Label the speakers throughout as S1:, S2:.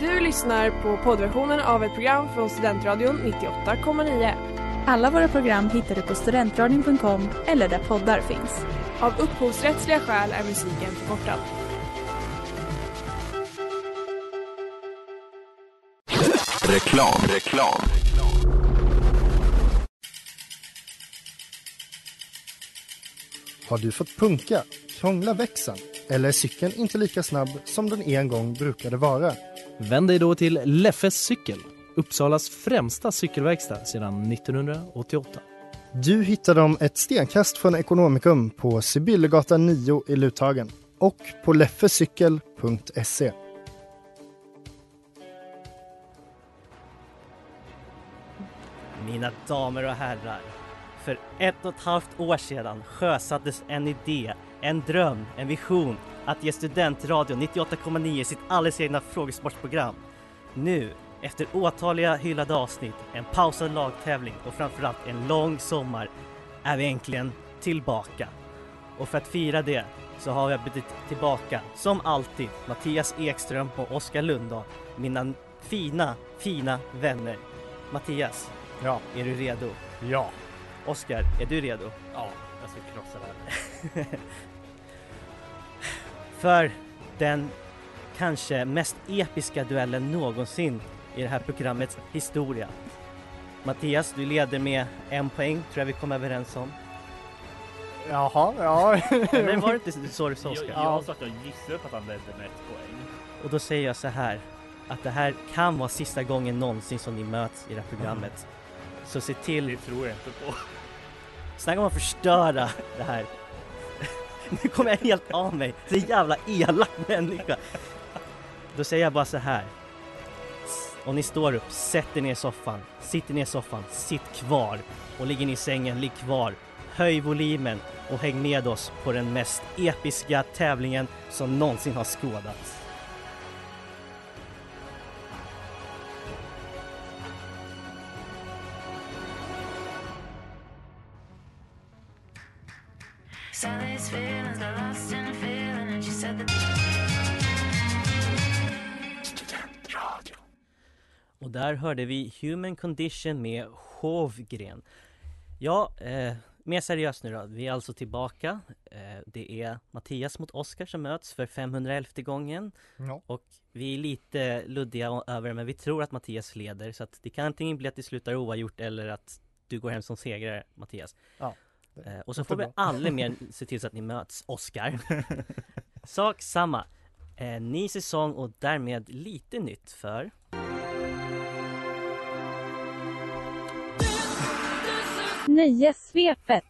S1: Du lyssnar på poddversionen av ett program från Studentradion 98,9.
S2: Alla våra program hittar du på studentradion.com eller där poddar finns.
S1: Av upphovsrättsliga skäl är musiken förkortad.
S3: Reklam, reklam.
S4: Har du fått punka, krångla växeln eller är cykeln inte lika snabb som den en gång brukade vara?
S5: Vänd dig då till Leffes cykel, Uppsalas främsta cykelverkstad sedan 1988.
S4: Du hittar dem ett stenkast från Ekonomikum på Sibyllegatan 9 i Luthagen och på leffecykel.se.
S6: Mina damer och herrar. För ett och ett halvt år sedan sjösattes en idé, en dröm, en vision att ge Studentradion 98,9 sitt alldeles egna frågesportprogram. Nu, efter åtaliga hyllade avsnitt, en pausad lagtävling och framförallt en lång sommar är vi äntligen tillbaka. Och för att fira det så har jag bjudit tillbaka, som alltid, Mattias Ekström och Oskar Lundahl, mina fina, fina vänner. Mattias, ja. är du redo?
S7: Ja.
S6: Oskar, är du redo?
S7: Ja, jag ska krossa det här.
S6: För den kanske mest episka duellen någonsin i det här programmets historia. Mattias, du leder med en poäng, tror jag vi kom överens om.
S4: Jaha, ja.
S6: Eller var det inte så du sa
S7: Jag,
S6: Oskar?
S7: jag sa att jag gissade på att han ledde med ett poäng.
S6: Och då säger jag så här att det här kan vara sista gången någonsin som ni möts i det här programmet.
S7: Mm.
S6: Så se
S7: Det
S6: till,
S7: tror jag inte på.
S6: snacka om att förstöra det här. Nu kommer jag helt av mig, så jävla elak människa. Då säger jag bara så här. S- Om ni står upp, sätt er ner i soffan, sitt ner i soffan, sitt kvar. Och ligger ni i sängen, ligg kvar. Höj volymen och häng med oss på den mest episka tävlingen som någonsin har skådats.
S8: Saw these feelings got lost in a feeling, and she said that.
S6: Och där hörde vi Human Condition med Hovgren. Ja, eh, mer seriöst nu då. Vi är alltså tillbaka. Eh, det är Mattias mot Oskar som möts för 511 gången.
S4: Ja.
S6: Och vi är lite luddiga o- över det, men vi tror att Mattias leder. Så att det kan antingen bli att det slutar oavgjort eller att du går hem som segrare, Mattias.
S4: Ja,
S6: Eh, och så
S4: låter
S6: får vi
S4: bra.
S6: aldrig mer se till så att ni möts, Oskar. Sak samma. Eh, ny säsong och därmed lite nytt för
S2: Nöjessvepet.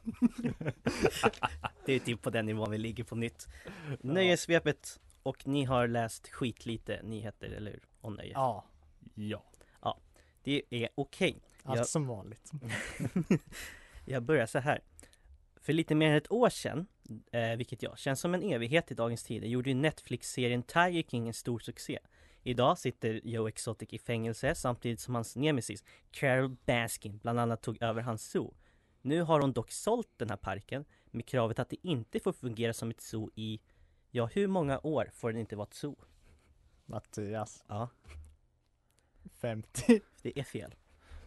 S6: Det är typ på den nivån vi ligger på nytt Nöjessvepet och ni har läst skitlite nyheter, eller hur? Om nöje
S9: Ja,
S7: Ja.
S6: Det är okej
S9: allt
S6: Jag-
S5: Alltså,
S9: som vanligt.
S6: Jag börjar så här För lite mer än ett år sedan, eh, vilket jag känns som en evighet i dagens tider, gjorde ju Netflix-serien Tiger King en stor succé Idag sitter Joe Exotic i fängelse samtidigt som hans nemesis Carol Baskin bland annat tog över hans zoo Nu har hon dock sålt den här parken med kravet att det inte får fungera som ett zoo i, ja hur många år får den inte vara ett zoo?
S9: Mattias,
S6: Ja,
S9: 50.
S6: det är fel.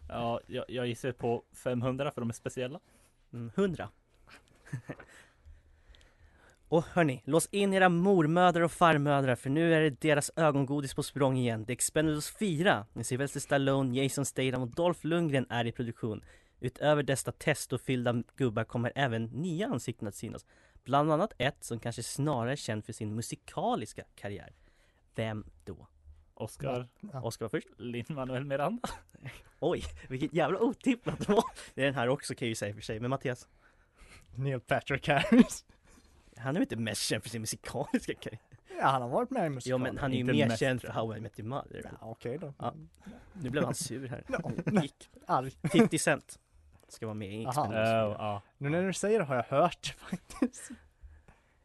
S7: ja jag, jag gissar på 500 för de är speciella.
S6: Mm, 100. och hörni, lås in era mormödrar och farmödrar för nu är det deras ögongodis på språng igen. The Expendables 4 med Sylvester Stallone, Jason Statham och Dolph Lundgren är i produktion. Utöver dessa testofyllda gubbar kommer även nya ansikten att synas. Bland annat ett som kanske snarare är känd för sin musikaliska karriär. Vem då?
S7: Oskar
S6: Oscar var först.
S7: Lin-Manuel Miranda.
S6: Oj, vilket jävla otippat det var! Det är den här också kan jag ju säga i och för sig, men Mattias?
S9: Neil Patrick Harris.
S6: Han är väl inte mest känd för sin musikaliska karriär?
S9: Ja, han har varit med i
S6: Ja
S9: musikalen.
S6: men han är ju
S7: inte
S6: mer
S7: mest,
S6: känd för How I Met Your Mother.
S9: Ja, okej då.
S6: Ja. Nu blev han sur här.
S9: Ja,
S6: Gick.
S9: arg.
S6: 50 Cent ska vara med i
S9: Aha.
S7: Uh,
S6: Expendables.
S7: ja.
S9: Nu när du säger det har jag hört faktiskt.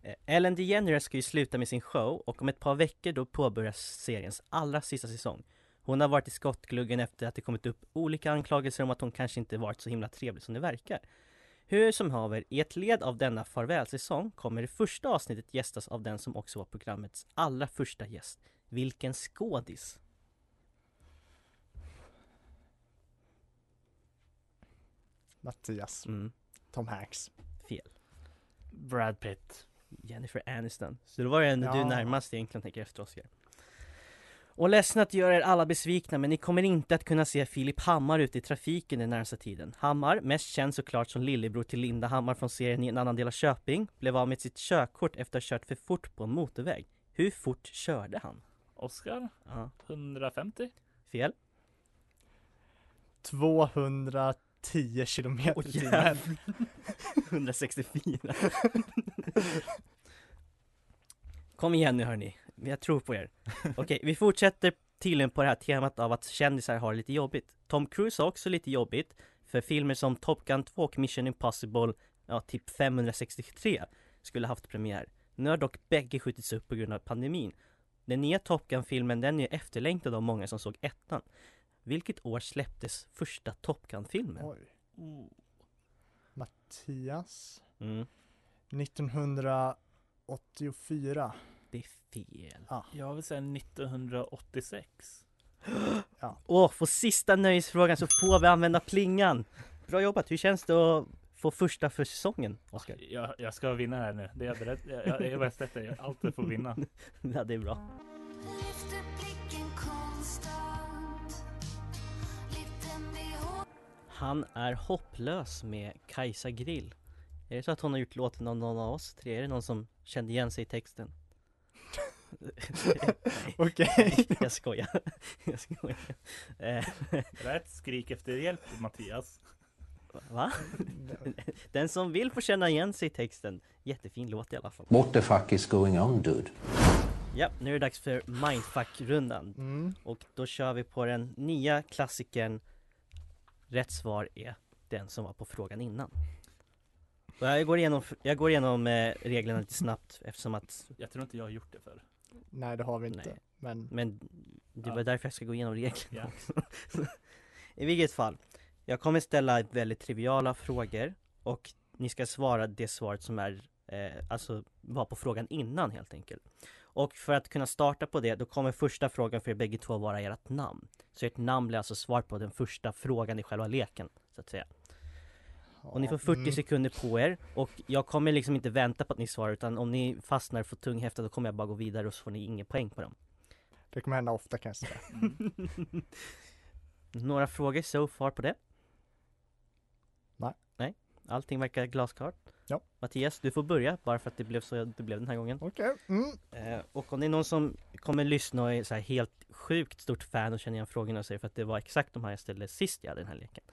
S6: Eh, Ellen DeGeneres ska ju sluta med sin show och om ett par veckor då påbörjas seriens allra sista säsong. Hon har varit i skottgluggen efter att det kommit upp olika anklagelser om att hon kanske inte varit så himla trevlig som det verkar. Hur som haver, i ett led av denna farvälsäsong kommer det första avsnittet gästas av den som också var programmets allra första gäst. Vilken skådis!
S9: Mattias.
S6: Mm.
S9: Tom Hanks.
S6: Fel.
S7: Brad Pitt.
S6: Jennifer Aniston. Så det var ju ändå du
S9: Ja.
S6: närmast egentligen, tänker jag efter Oscar. Och ledsen att göra er alla besvikna, men ni kommer inte att kunna se Filip Hammar ute i trafiken den närmsta tiden. Hammar, mest känd såklart som lillebror till Linda Hammar från serien I en annan del av Köping, blev av med sitt körkort efter att ha kört för fort på en motorväg. Hur fort körde han?
S7: Oscar.
S6: Ja,
S7: 150.
S6: fel.
S9: 210 kilometer
S6: Åh,
S9: i timmen.
S6: jävlar. 164. Kom igen nu hörni, jag tror på er. Okej, vi fortsätter tydligen på det här temat av att kändisar har det lite jobbigt. Tom Cruise har också lite jobbigt, för filmer som Top Gun 2 och Mission Impossible, ja typ 563, skulle haft premiär. Nu har dock bägge skjutits upp på grund av pandemin. Den nya Top Gun-filmen den är efterlängtad av många som såg ettan. Vilket år släpptes första Top Gun-filmen?
S9: Oj.
S7: Mm.
S9: Mattias.
S6: Mm,
S9: 1984.
S6: det är fel.
S7: Jag vill säga 1986.
S6: Åh, för sista nöjesfrågan så får vi använda plingan! Bra jobbat, hur känns det att få första för säsongen, Oskar?
S7: Jag, jag ska vinna det här nu. Det är jag beredd. Jag, jag, jag är bäst efter. Jag gör allt för att vinna.
S6: Ja, det är bra.
S8: Lyfter blicken konstant. Liten behå-
S6: Han är hopplös med Kajsa Grill. Är det så att hon har gjort låten av någon av oss tre? Är det någon som kände igen sig i texten?
S9: Okej.
S6: Nej, jag skojar. Jag skojar. Eh,
S7: Rätt skrik efter hjälp Mattias.
S6: va? Den som vill får känna igen sig i texten. Jättefin låt i alla fall.
S10: What the fuck is going on, dude?
S6: Ja, nu är det dags för Mindfuck-rundan.
S9: Mm.
S6: Och då kör vi på den nya klassikern Rätt svar är den som var på frågan innan Och jag går igenom, jag går igenom eh, reglerna lite snabbt eftersom att
S7: Jag tror inte jag har gjort det förr.
S9: Nej, det har vi inte.
S6: Nej.
S9: Men
S6: Men det var
S7: Ja.
S6: därför jag ska gå igenom reglerna
S7: Ja.
S6: också I vilket fall Jag kommer ställa väldigt triviala frågor Och ni ska svara det svaret som är eh, Alltså var på frågan innan helt enkelt Och för att kunna starta på det då kommer första frågan för er bägge två vara ert namn Så ert namn blir alltså svar på den första frågan i själva leken så att säga och ni får 40
S9: Mm.
S6: sekunder på er och jag kommer liksom inte vänta på att ni svarar utan om ni fastnar för tung häfta då kommer jag bara gå vidare och så får ni ingen poäng på dem
S9: det kommer hända ofta kan jag säga.
S6: Mm. Några frågor so far på det?
S9: Nej.
S6: Nej, allting verkar glasklart
S9: Ja.
S6: Mattias, du får börja bara för att det blev så det blev den här gången
S9: Okej. Mm.
S6: eh, Och om det är någon som kommer lyssna och är så här helt sjukt stort fan och känner igen frågorna och säger för att det var exakt de här jag ställde sist jag hade den här leken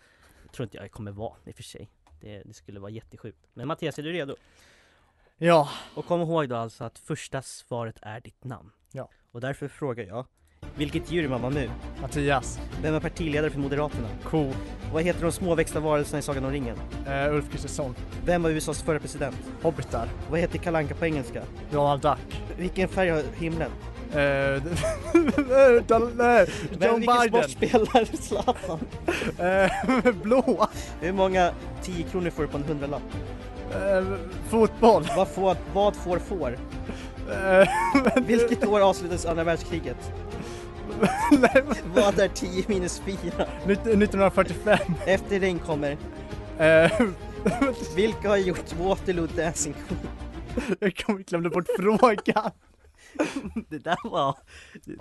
S6: Jag tror inte jag kommer vara i och för sig det, det skulle vara jättesjukt Men Mattias, är du redo?
S9: Ja.
S6: Och kom ihåg då alltså att första svaret är ditt namn
S9: Ja.
S6: Och därför frågar jag Vilket djur är Mamma Mu?
S9: Mattias.
S6: Vem är partiledare för Moderaterna?
S9: Ko.
S6: Vad heter de småväxta varelserna i Sagan om ringen?
S9: Eh, Ulf Kristersson.
S6: Vem var USAs förra president?
S9: Hobbitar.
S6: Vad heter Kalle Anka på engelska?
S9: Donald Duck.
S6: Vilken färg har himlen?
S9: Eh, Don- nej,
S6: Vem, vilken
S9: John Biden.
S6: sport spelar Zlatan?
S9: Eh, blå.
S6: Hur många 10 kronor får du på en hundralapp?
S9: Eh, fotboll.
S6: Vad får, vad får får?
S9: Eh,
S6: Vilket år avslutades andra världskriget?
S9: nej,
S6: Vad är 10 minus 4?
S9: nitt- 1945.
S6: Efter regn kommer.
S9: Eh,
S6: Vilka har gjort Waterloo Dancing Queen?
S9: jag kom- glömde bort frågan.
S6: Det där var...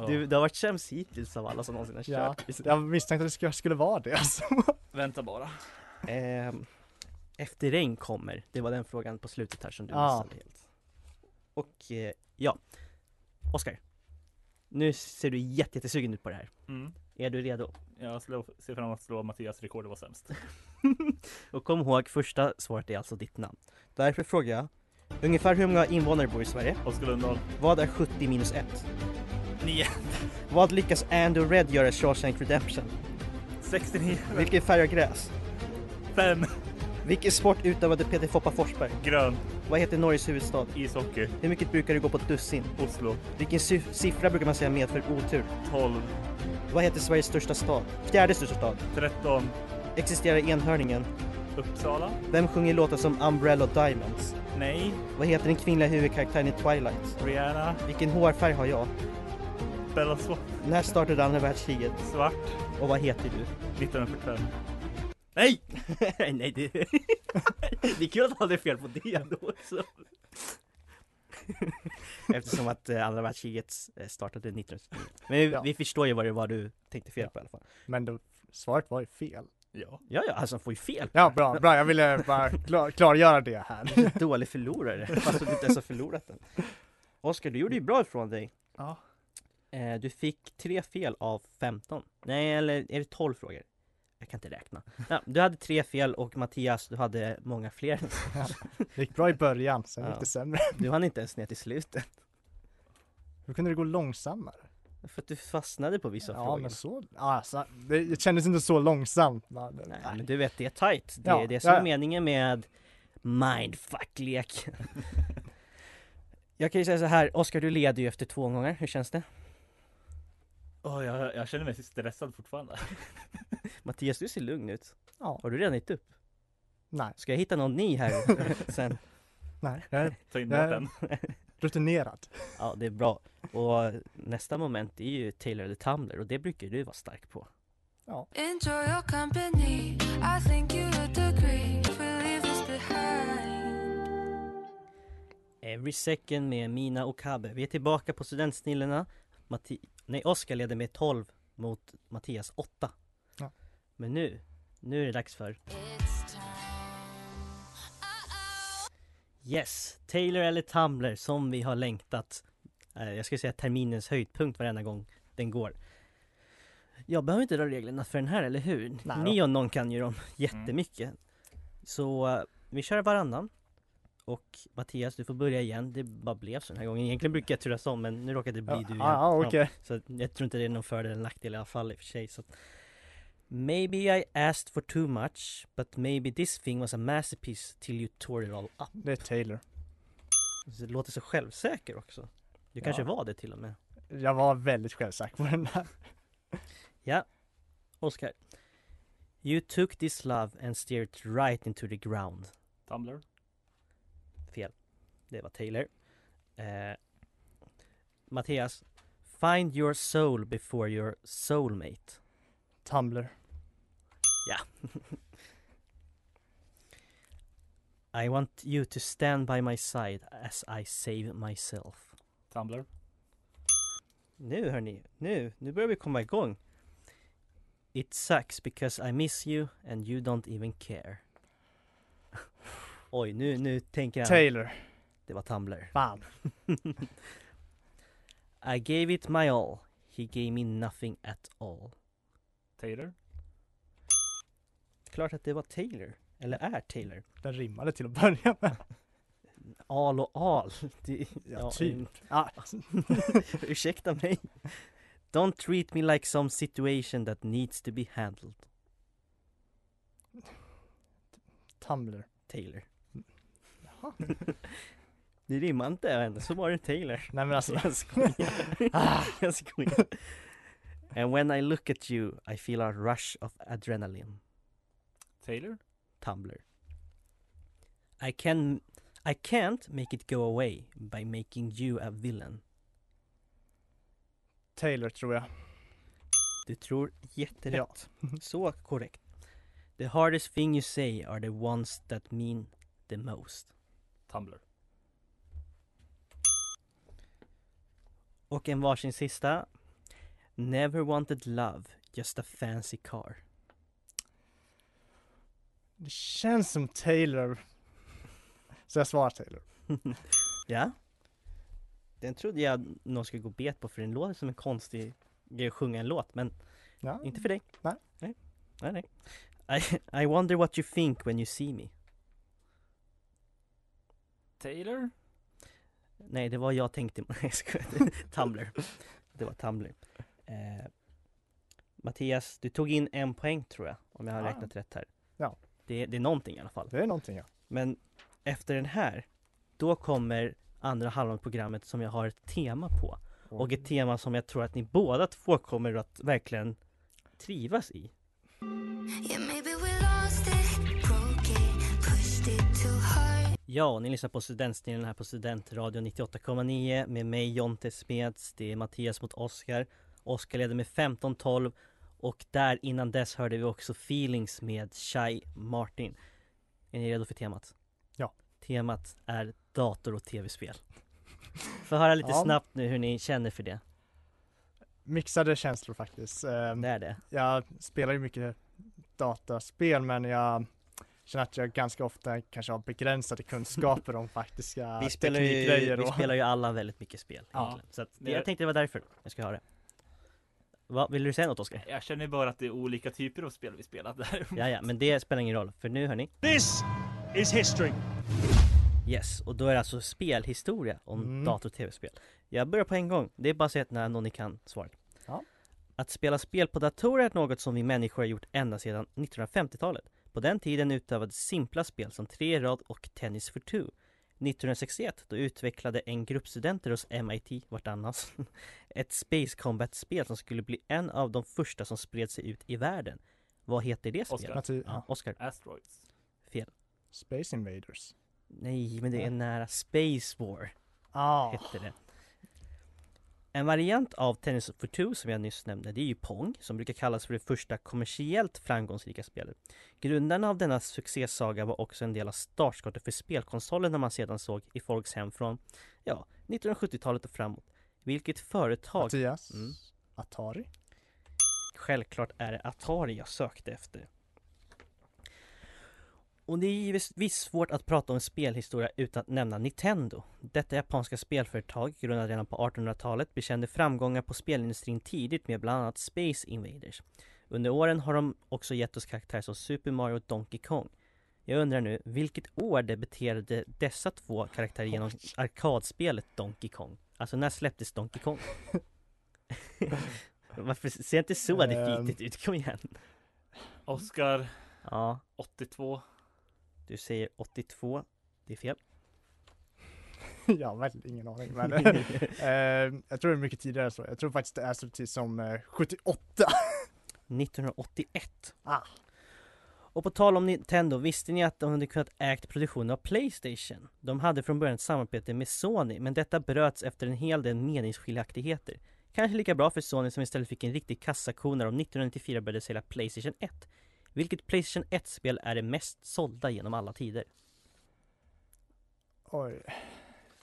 S6: Du, det har varit sämst hittills av alla som någonsin har
S9: Ja,
S6: kört.
S9: jag misstänkte att det skulle- skulle vara det alltså.
S7: Vänta bara.
S6: Ehm, efter regn kommer, det var den frågan på slutet här som du
S9: Ja.
S6: missade helt. Och eh, ja, Oskar. Nu ser du jätte- jättesugen ut på det här.
S7: Mm.
S6: Är du redo?
S7: Jag slår, ser fram emot att slå Mattias rekord. Det var sämst.
S6: Och kom ihåg, första svaret är alltså ditt namn. Därför frågar jag, ungefär hur många invånare bor i Sverige?
S7: Oskar Lundahl.
S6: Vad är 70 minus 1?
S7: Nio.
S6: Vad lyckas Andy och Red göra i Shawshank Redemption?
S7: 69.
S6: Vilken färg har gräs?
S7: 5.
S6: Vilken sport utövade Peter Foppa Forsberg?
S7: Grön.
S6: Vad heter Norges huvudstad?
S7: Ishockey.
S6: Hur mycket brukar det gå på ett dussin?
S7: Oslo.
S6: Vilken sy- siffra brukar man säga medför otur?
S7: 12.
S6: Vad heter Sveriges största stad? Fjärde största stad.
S7: 13.
S6: Existerar enhörningen?
S7: Uppsala.
S6: Vem sjunger låtar som Umbrella och Diamonds?
S7: Nej.
S6: Vad heter den kvinnliga huvudkaraktären i Twilight?
S7: Rihanna.
S6: Vilken hårfärg har jag?
S7: Bella Swap.
S6: När startade andra världskriget?
S7: Svart.
S6: Och vad heter du?
S7: 1945.
S6: Nej! Nej det... det är kul att han hade fel på det ändå också. Eftersom att eh, andra världskriget eh, startade 1939. Men vi,
S9: Ja.
S6: vi förstår ju vad det var du tänkte fel på i alla fall.
S9: Men då, svaret var ju fel.
S6: Ja. Ja, ja, alltså han får ju fel.
S9: Ja, bra, bra. Jag ville bara klar, klargöra det här.
S6: Dålig förlorare, fast du inte ens har förlorat den. Oskar, du gjorde ju bra ifrån dig.
S9: Ja.
S6: Eh, du fick tre fel av 15. Nej, eller är det 12 frågor? Jag kan inte räkna. Ja, du hade tre fel och Mattias, du hade många fler.
S9: Det gick bra i början, sen gick
S6: Ja.
S9: det sämre.
S6: Du hann inte ens ner till slutet.
S9: Hur kunde det gå långsammare?
S6: För att du fastnade på vissa
S9: Ja,
S6: frågor.
S9: men så, alltså, det, det kändes inte så långsamt. Men,
S6: Nej, men du vet, det är tight. Det
S9: Ja,
S6: är det som
S9: ja, ja.
S6: är meningen med mindfuck-lek. Jag kan ju säga så här, Oskar du leder ju efter två gånger, hur känns det?
S7: Åh, jag, jag känner mig stressad fortfarande.
S6: Mattias, du ser lugn ut.
S9: Ja.
S6: Har du redan gett upp?
S9: Nej,
S6: Ska jag hitta någon ny här sen?
S9: nej. Jag är
S7: Ta in
S9: Nej.
S7: bort den.
S9: rutinerad.
S6: Ja, det är bra. Och nästa moment är ju Taylor the Tumblr och det brukar du vara stark på.
S8: Enjoy your company. I think you would agree. If we leave this behind.
S6: Every second med Mina och Kabe. Vi är tillbaka på Studentsnillena. Matti- Nej, Oskar leder med 12 mot Mattias 8.
S9: Ja.
S6: Men nu, nu är det dags för
S8: It's time. Uh-oh.
S6: Yes, Taylor eller Tumblr som vi har längtat. Eh, Jag skulle säga terminens höjdpunkt varenda gång den går. Jag behöver inte dra reglerna för den här, eller hur?
S9: Nej då. Mm.
S6: Ni och någon kan ju dem jättemycket. Så eh, vi kör varannan. Och Mattias, du får börja igen. Det bara blev så den här gången. Egentligen brukar jag turas om, men nu råkade det bli
S9: Ja,
S6: du igen.
S9: ja, okej.
S6: Så jag tror inte det är någon fördel eller nackdel i alla fall i och för sig. Så att, maybe I asked for too much, but maybe this thing was a masterpiece till you tore it all up.
S9: Det är Taylor.
S6: Du låter så självsäker också. Du kanske
S9: Ja.
S6: var det till och med.
S9: Jag var väldigt självsäker på den här.
S6: Oscar. You took this love and steered it right into the ground.
S7: Tumblr.
S6: Fel. Det var Taylor. Eh, Mattias. Find your soul before your soulmate.
S9: Tumblr.
S6: I want you to stand by my side as I save myself.
S7: Tumblr.
S6: Nu hörni, nu, nu börjar vi komma igång. It sucks because I miss you and you don't even care. Oj, nu, nu tänker han.
S9: Taylor.
S6: Det var Tumblr.
S9: Fan.
S6: I gave it my all. He gave me nothing at all.
S7: Taylor.
S6: Klart att det var Taylor. Eller är Taylor.
S9: Den rimmade till att börja med.
S6: Al och al. Det,
S9: Ja, typ. Ja,
S6: alltså, ursäkta mig. Don't treat me like some situation that needs to be handled.
S9: Tumblr.
S6: Taylor. det rimmar inte ändå, så var det Taylor.
S9: Nej men alltså.
S6: Jag
S9: Ah.
S6: skojar. Jag skojar. And when I look at you I feel a rush of adrenaline.
S7: Taylor.
S6: Tumblr. I can I can't make it go away by making you a villain.
S9: Taylor tror jag.
S6: Du tror jätterätt. Så korrekt. The hardest thing you say are the ones that mean the most.
S7: Tumblr.
S6: Och en varsin sista. Never wanted love, just a fancy car.
S9: Det känns som Taylor. Så jag svarar Taylor.
S6: Ja. Den trodde jag någon skulle gå bet på för den låter som en konstig grej att sjunga en låt men
S9: Ja.
S6: inte för dig.
S9: Nej.
S6: Nej, nej. nej. I, I wonder what you think when you see me.
S7: Taylor.
S6: Nej, det var jag tänkte. Nej, jag skojar. Tumblr. Det var Tumblr. Eh, Mattias, du tog in en poäng tror jag, om jag har
S9: Ja.
S6: räknat rätt här.
S9: Ah. Ja.
S6: Det, det är någonting i alla fall.
S9: Det är någonting ja.
S6: Men efter den här, då kommer andra halvan av programmet som jag har ett tema på. Och ett tema som jag tror att ni båda två kommer att verkligen trivas i.
S8: Yeah, maybe we lost it, broke it, pushed it too hard.
S6: Ja, och ni lyssnar på Studentstilen här på Studentradion 98,9 med mig Jonte Smeds. Det är Mattias mot Oskar. Oskar leder med 15-12 Och där innan dess hörde vi också Feelings med Shai Martin. Är ni redo för temat?
S9: Ja.
S6: Temat är dator och tv-spel. Få höra lite
S9: Ja.
S6: snabbt nu hur ni känner för det.
S9: Mixade känslor faktiskt. Ehm,
S6: Det är det.
S9: Jag spelar ju mycket dataspel men jag känner att jag ganska ofta kanske har begränsade kunskaper om faktiska
S6: vi spelar, ju,
S9: teknikgrejer
S6: vi
S9: och
S6: spelar ju alla väldigt mycket spel
S9: Ja.
S6: egentligen. Så att, det,
S7: Det-
S6: jag tänkte det var därför jag ska ha det. Va, vill du säga något Oskar?
S7: Jag känner bara att det är olika typer av spel vi spelat där.
S6: Ja, ja, men det spelar ingen roll, för nu hörni.
S11: This is history.
S6: Yes, och då är det alltså spelhistoria om
S9: Mm.
S6: dator och tv-spel. Jag börjar på en gång, det är bara att säga att när någon ni kan svaret.
S9: Ja.
S6: Att spela spel på datorer är något som vi människor har gjort ända sedan 1950-talet. På den tiden utövades simpla spel som tre i rad och tennis för two. 1961 då utvecklade en grupp studenter hos MIT, vart annars, ett Space Combat-spel som skulle bli en av de första som spred sig ut i världen. Vad heter det spelet?
S7: Oscar.
S9: Natu- ja.
S6: Oscar.
S7: Asteroids.
S6: Fel.
S9: Space Invaders.
S6: Nej, men det är
S9: Nej.
S6: nära Space War.
S9: Ah,
S6: hette det. En variant av Tennis for two som jag nyss nämnde, det är ju Pong, som brukar kallas för det första kommersiellt framgångsrika spelet. Grundarna av denna succésaga var också en del av startskottet för spelkonsolerna man sedan såg i folks hem från, ja, 1970-talet och framåt. Vilket företag,
S9: Mattias.
S6: Mm.
S9: Atari.
S6: självklart är det Atari jag sökte efter. Och det är givetvis svårt att prata om spelhistoria utan att nämna Nintendo. Detta japanska spelföretag, grundat redan på 1800-talet, bekände framgångar på spelindustrin tidigt med bland annat Space Invaders. Under åren har de också gett oss karaktärer som Super Mario och Donkey Kong. Jag undrar nu, vilket år debuterade dessa två karaktärer genom arkadspelet Donkey Kong? Alltså när släpptes Donkey Kong? Varför ser inte så
S9: Ehm.
S6: defeatigt ut? Kom igen!
S7: Oscar
S6: Ja,
S7: 82.
S6: du säger 82. Det är fel.
S9: jag har verkligen ingen aning men eh, jag tror det är mycket tidigare än så. Jag tror faktiskt det är så tidigt som eh, 78.
S6: 1981.
S9: Ah.
S6: Och på tal om Nintendo, visste ni att de hade kunnat ägt produktionen av Playstation? De hade från början ett samarbete med Sony, men detta bröts efter en hel del meningsskiljaktigheter. Kanske lika bra för Sony som istället fick en riktig kassako när de 1994 började sälja Playstation 1. Vilket Playstation 1-spel är det mest sålda genom alla tider?
S9: Oj,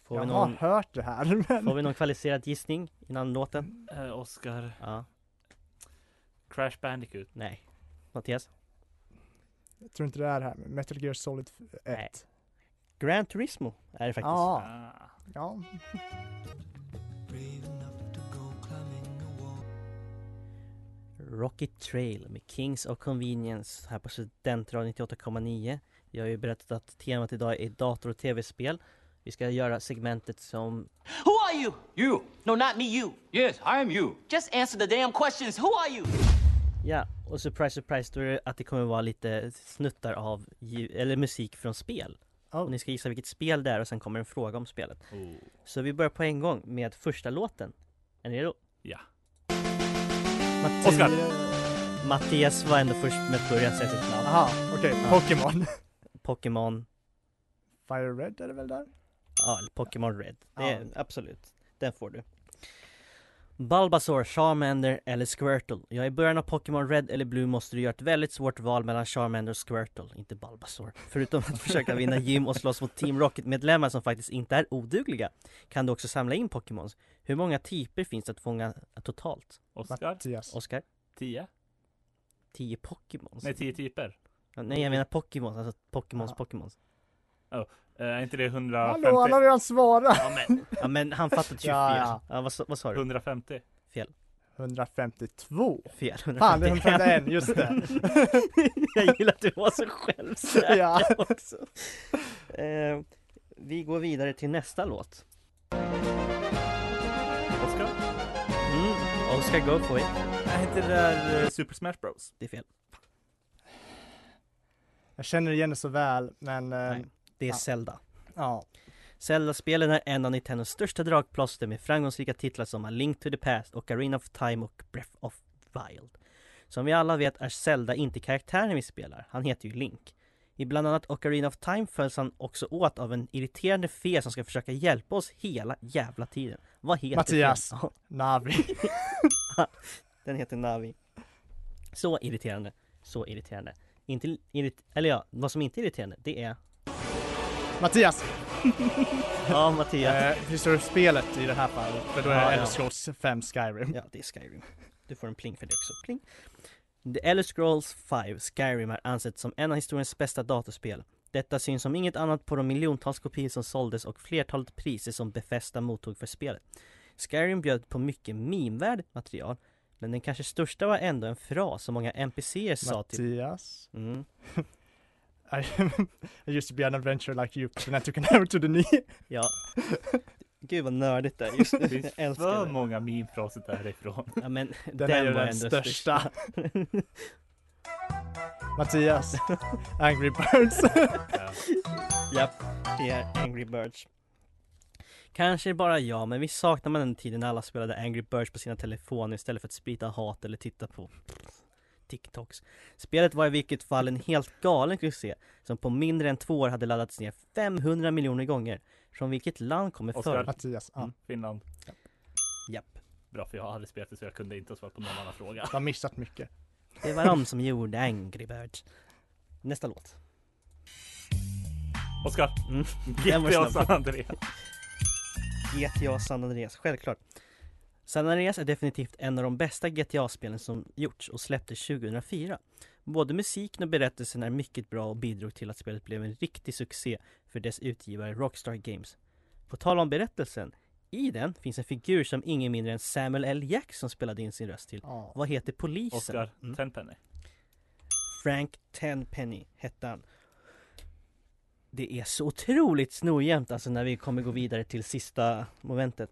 S6: Får
S9: jag
S6: vi
S9: har
S6: någon,
S9: hört det här men
S6: får vi någon kvalificerad gissning innan låten?
S7: Eh, Oscar
S6: Ja,
S7: Crash Bandicoot.
S6: nej. Mattias?
S9: jag tror inte det är det här. Metal Gear Solid 1.
S6: Nej. Gran Turismo är det faktiskt.
S9: Ja,
S7: Ah.
S9: ja.
S6: Rocky Trail med Kings of Convenience här på Studentradion 98,9. Jag har ju berättat att temat idag är dator och tv-spel. Vi ska göra segmentet som
S11: Who are you? You. No, not me, you. Yes, I am you. Just answer the damn questions. Who are you?
S6: Ja, och surprise surprise då är det att det kommer vara lite snuttar av ljud, eller musik från spel.
S9: Oh.
S6: Och ni ska gissa vilket spel det är och sen kommer en fråga om spelet.
S11: Oh.
S6: Så vi börjar på en gång med första låten. Är ni redo?
S7: Ja.
S6: Matti-
S7: Oscar.
S6: Mattias var ändå först med att börja säga sitt namn.
S9: Aha, okej. Pokémon.
S6: Pokémon,
S9: Fire Red är det väl där?
S6: ja eller Pokémon Red. Det är,
S9: Ja.
S6: Absolut, den får du. Bulbasaur, Charmander eller Squirtle? Ja, i början av Pokémon Red eller Blue måste du göra ett väldigt svårt val mellan Charmander och Squirtle, inte Bulbasaur. Förutom att försöka vinna gym och slåss mot Team Rocket-medlemmar som faktiskt inte är odugliga, kan du också samla in Pokémons. Hur många typer finns det att fånga totalt?
S7: Oscar
S9: Mattias.
S6: Oscar?
S7: 10.
S6: 10 Pokémons?
S7: Nej, 10 typer.
S6: Ja, Nej, jag menar Pokémons, alltså Pokémons,
S9: Ja.
S6: Pokémons.
S7: Eh, Är inte det 150?
S9: Hallå, han har redan svarat!
S7: Ja, men
S6: Ja men han fattade 24.
S9: Ja,
S6: ja,
S9: ja.
S6: vad, sa- vad sa du?
S7: 150.
S9: 152.
S6: Fel.
S9: Fan, det är 151, just det.
S6: jag gillar att du var så självsäker
S9: Ja.
S6: också. Eh, vi går vidare till nästa låt.
S7: Oscar?
S6: Mm. Oscar, go for it.
S7: Är inte det där eh, Super Smash Bros?
S6: Det är fel.
S9: Jag känner igen det så väl, men eh,
S6: Nej. Det är
S9: Ja.
S6: Zelda.
S9: ja.
S6: Zelda-spelen är en av Nintendos största dragplåster med framgångsrika titlar som A Link to the Past, Ocarina of Time och Breath of Wild. Som vi alla vet är Zelda inte karaktären vi spelar, han heter ju Link. I bland annat Ocarina of Time följs han också åt av en irriterande fe som ska försöka hjälpa oss hela jävla tiden. Vad heter
S9: Mattias.
S6: den? Ja,
S9: Navi.
S6: den heter Navi. Så irriterande, så irriterande. Inte irrit- eller ja, vad som inte är irriterande, det är...
S9: Mattias!
S6: ja, Mattias.
S9: Eh, hur står det för spelet i det här fallet? För då är
S6: Ja,
S9: det
S6: ja.
S9: Elder Scrolls 5 Skyrim.
S6: Ja, det är Skyrim. Du får en pling för det också. Pling. The Elder Scrolls 5 Skyrim är ansett som en av historiens bästa datorspel. Detta syns som inget annat på de miljontals kopior som såldes och flertalet priser som Bethesda mottog för spelet. Skyrim bjöd på mycket meme-värdigt material, men den kanske största var ändå en fras som många NPCer sa till...
S9: Mattias?
S6: Mm.
S9: I, I used to be an adventurer like you, but then I took an arrow to the knee.
S6: Ja. Gud vad nördigt det är just nu.
S7: Det
S6: Jag
S7: finns
S6: älskar
S7: för
S6: det.
S7: många meme-fraser därifrån.
S6: Ja men den,
S9: Den är ju
S6: var
S9: den
S6: ändå
S9: största. Mattias, Angry Birds.
S6: Japp, det är Angry Birds. Kanske bara jag, men vi saknar man den tiden när alla spelade Angry Birds på sina telefoner istället för att sprida hat eller titta på TikToks. Spelet var i vilket fall en helt galen succé som på mindre än två år hade laddats ner 500 miljoner gånger. Från vilket land kommer
S7: Oscar.
S6: för?
S9: Mattias, ja.
S6: Mm.
S7: Finland.
S6: Japp,
S7: Bra, för jag hade spelat det så jag kunde inte ha svarat på någon annan fråga.
S9: Du har missat mycket.
S6: det var de som gjorde Angry Birds. Nästa låt.
S7: Oskar!
S6: Mm. Den var
S7: GTA
S6: snabb.
S7: San Andreas.
S6: GTA San Andreas, självklart. San Andreas är definitivt en av de bästa GTA-spelen som gjorts och släpptes 2004. Både musiken och berättelsen är mycket bra och bidrog till att spelet blev en riktig succé för dess utgivare Rockstar Games. På tal om berättelsen, i den finns en figur som ingen mindre än Samuel L. Jackson spelade in sin röst till.
S9: Ja.
S6: Vad heter polisen?
S7: Oskar,
S6: Mm.
S7: Tenpenny.
S6: Frank Tenpenny hette han. Det är så otroligt snojämnt alltså när vi kommer gå vidare till sista momentet.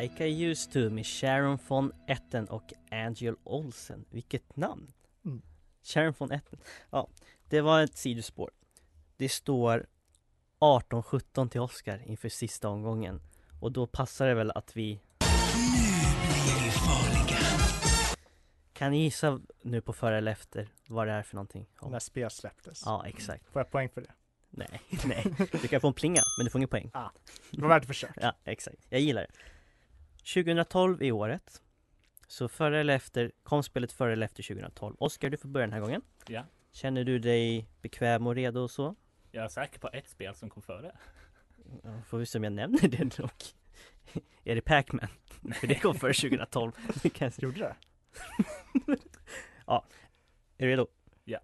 S6: Like I used to med Sharon von Etten och Angel Olsen. Vilket namn!
S9: Mm.
S6: Sharon von Etten. Ja, det var ett sidospår. Det står 18-17 till Oscar inför sista omgången. Och då passar det väl att vi... Kan ni gissa nu på före eller efter vad det är för någonting?
S9: När spel släpptes.
S6: Ja, exakt.
S9: Får jag poäng för det?
S6: Nej, nej. Du kan få en plinga, men du får ingen poäng.
S9: Det var värt ett försök.
S6: Ja, exakt. Jag gillar det. 2012 är året. Så före eller efter, kom spelet före eller efter 2012? Oskar, du får börja den här gången.
S7: Ja.
S6: Känner du dig bekväm och redo och så?
S7: Jag är säker på ett spel som kom före.
S6: Ja, Får vi se om jag nämner det dock. Är det Pac-Man? För det kom före 2012. Det kan jag
S9: Gjorde det?
S6: Är du redo?
S7: Ja.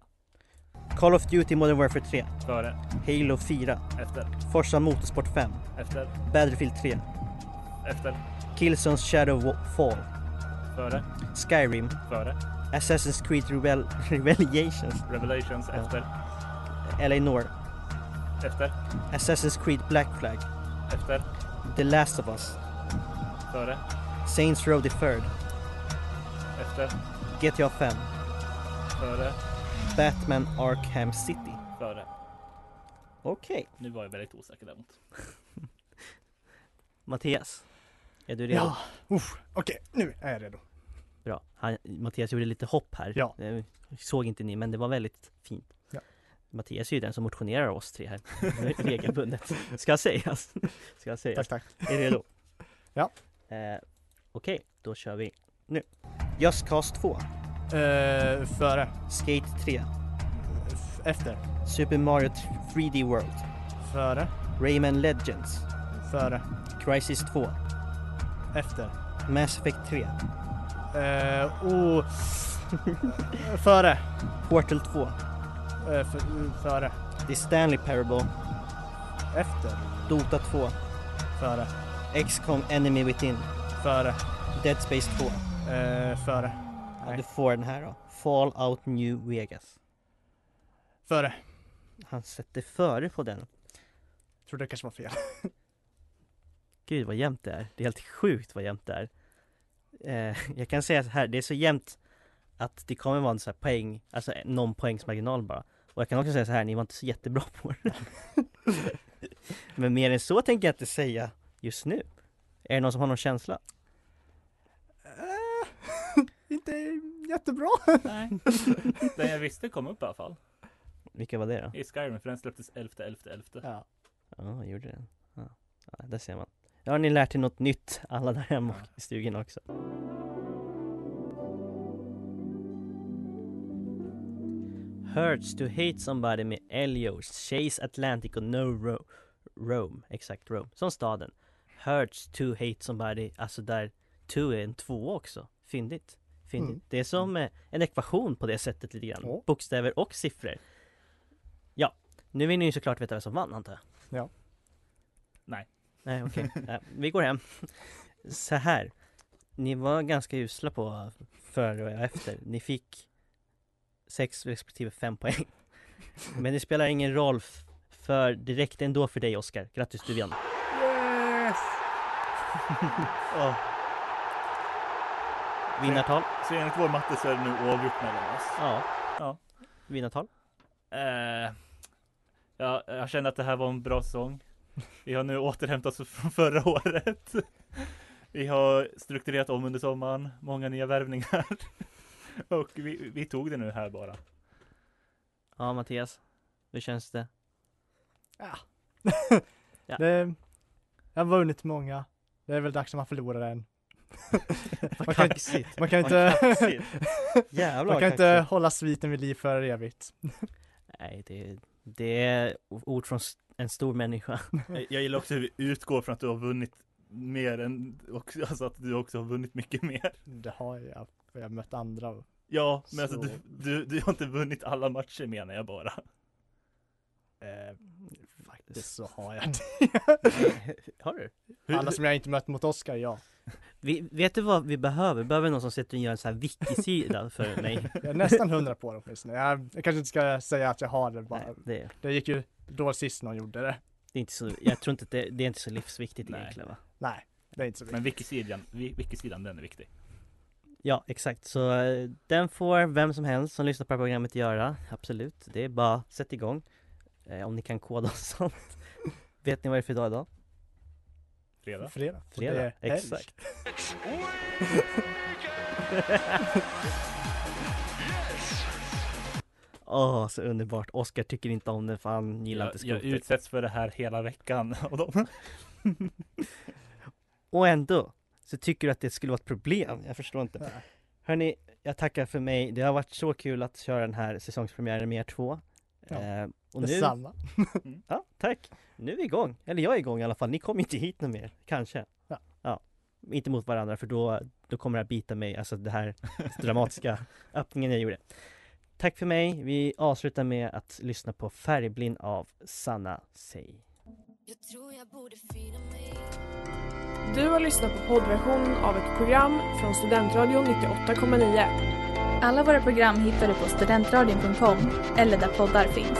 S6: Call of Duty Modern Warfare 3
S7: Före,
S6: Halo 4
S7: efter,
S6: Forza Motorsport 5
S7: efter,
S6: Battlefield 3
S7: efter,
S6: Killzones Shadow Wa- Fall
S7: före,
S6: Skyrim
S7: före,
S6: Assassin's Creed Rebel Revelations
S7: Revelations,
S6: Ja.
S7: efter,
S6: LA Noir
S7: efter,
S6: Assassin's Creed Black Flag
S7: efter,
S6: The Last of Us
S7: före,
S6: Saints Row the Third
S7: efter,
S6: GTA 5
S7: före,
S6: Batman Arkham City
S7: före.
S6: Okej
S7: Nu var jag väldigt osäker däremot.
S6: Mattias Är du redo?
S9: Ja. Uff, Okej, nu är jag redo.
S6: Bra. Han, Mattias gjorde lite hopp här.
S9: Ja.
S6: Det såg inte ni, men det var väldigt fint.
S9: Ja.
S6: Mattias är ju den som motionerar oss tre här regelbundet. Ska sägas. Ska sägas.
S9: Tack, tack.
S6: Är du redo?
S9: Ja.
S6: Eh, Okej, då kör vi nu. Just Cause 2,
S9: Eh, före.
S6: Skate 3,
S9: F- efter.
S6: Super Mario 3D World,
S9: Före.
S6: Rayman Legends,
S9: Före.
S6: Crisis 2,
S9: Efter.
S6: Mass Effect 3,
S9: Eh, oh. före.
S6: Portal 2,
S9: Eh, f- före.
S6: The Stanley Parable,
S9: Efter.
S6: Dota 2,
S9: Före.
S6: XCOM Enemy Within,
S9: Före.
S6: Dead Space 2.
S9: Eh, före.
S6: Ja,
S9: Nej.
S6: du får den här då. Fallout New Vegas.
S9: Före.
S6: Han sätter före på den.
S9: Trodde det kanske var fel.
S6: Gud vad jämnt det är. Det är helt sjukt vad jämnt det är. Eh, jag kan säga så här, det är så jämnt att det kommer vara en sån här poäng, alltså en- någon poängsmarginal bara. Och jag kan också säga så här, ni var inte så jättebra på det. Men mer än så tänker jag inte säga just nu. Är det någon som har någon känsla?
S9: Eh, inte jättebra.
S7: Nej. Den jag visste kom upp i alla fall.
S6: Vilka var det då?
S7: I Skyrim, för den släpptes 11, 11, 11.
S9: Ja.
S6: Ja, gjorde den. Ja, ja där ser man. Då har ni lärt er något nytt, alla där hemma och i stugan också. Hurts to hate somebody med Elios, Chase Atlantic och No Ro- Rome, exakt Rome, som staden. Hurts to hate somebody, alltså där to är en två också. Fyndigt. Fyndigt.
S9: Mm.
S6: Det är som eh, en ekvation på det sättet lite grann.
S9: Ja.
S6: Bokstäver och siffror. Ja, nu vill ni ju såklart veta vem som vann antar jag.
S9: Ja.
S7: Nej.
S6: Nej okej, Nej, vi går hem. Så här. Ni var ganska usla på före och efter. Ni fick sex respektive fem poäng. Men det spelar ingen roll f- för direkt ändå för dig Oskar. Grattis du vann.
S7: Yes!
S6: Vinnartal.
S7: Så enligt vår matte så är det nu oavgjort mellan oss.
S6: Ja.
S7: Ja.
S6: Vinnartal.
S7: Eh, ja, jag känner att det här var en bra säsong. Vi har nu återhämtat oss från förra året. Vi har strukturerat om under sommaren, många nya värvningar. Och vi, vi tog det nu här bara.
S6: Ja Mattias. Hur känns det? Ja.
S9: Det, jag har vunnit många. Det är väl dags att man förlorar en.
S6: Vad
S9: Man kan-
S6: kaxigt.
S9: Man kan
S6: Vad
S9: inte,
S6: kaxigt. Jävlar
S9: man
S6: vad
S9: kan inte
S6: kaxigt.
S9: hålla sviten vid liv för evigt.
S6: Nej det, det är ord från s- en stor människa.
S7: Jag jag gillar också hur vi utgår från att du har vunnit mer än, och, alltså att du också har vunnit mycket mer.
S9: Det har jag, för jag har mött andra. och-
S7: Ja, men alltså
S9: Så.
S7: du, du, du har inte vunnit alla matcher menar jag bara.
S9: Eh, faktiskt så har jag
S6: Har du?
S9: det. Alla som jag inte mött mot Oscar, ja.
S6: Vi, vet du vad vi behöver? Vi behöver någon som sitter och gör en sån här wiki-sida för mig.
S9: Jag är nästan hundra på det åtminstone. Jag, jag kanske inte ska säga att jag har det bara.
S6: Nej, det,
S9: Det gick ju då sist någon gjorde det.
S6: det är inte så, jag tror inte att det, det är inte så livsviktigt
S7: Nej.
S6: egentligen va?
S9: Nej, det är inte så viktigt.
S7: Men wikisidan, wi- wikisidan den är viktig.
S6: Ja, exakt. Så eh, den får vem som helst som lyssnar på det här programmet göra. Absolut. Det är bara sätt igång. Eh, om ni kan koda och sånt. vet ni vad det är för dag idag?
S7: Fredag.
S9: Fredag. Och
S6: Fredag.
S9: det är helg.
S6: Exakt. Åh, så underbart. Oskar tycker inte om det för han gillar
S7: Jag,
S6: inte
S7: jag
S6: skoter.
S7: utsätts för det här hela veckan av dem.
S6: Och ändå så tycker du att det skulle vara ett problem. Jag förstår inte.
S9: Nej.
S6: Hörni, jag tackar för mig. Det har varit så kul att köra den här säsongspremiären med er två.
S9: Ja,
S6: Eh, och nu,
S9: Detsamma.
S6: ja, tack. Nu är vi igång. Eller jag är igång i alla fall. Ni kommer inte hit någon mer, kanske.
S9: Ja.
S6: Inte mot varandra för då, då kommer det här bita mig, alltså det här dramatiska öppningen jag gjorde. Tack för mig. Vi avslutar med att lyssna på Färgblind av Sanna Sey.
S8: Jag tror jag borde fira mig
S1: Du har lyssnat på poddversionen av ett program från Studentradion 98,9.
S2: Alla våra program hittar du på studentradion.com eller där poddar finns.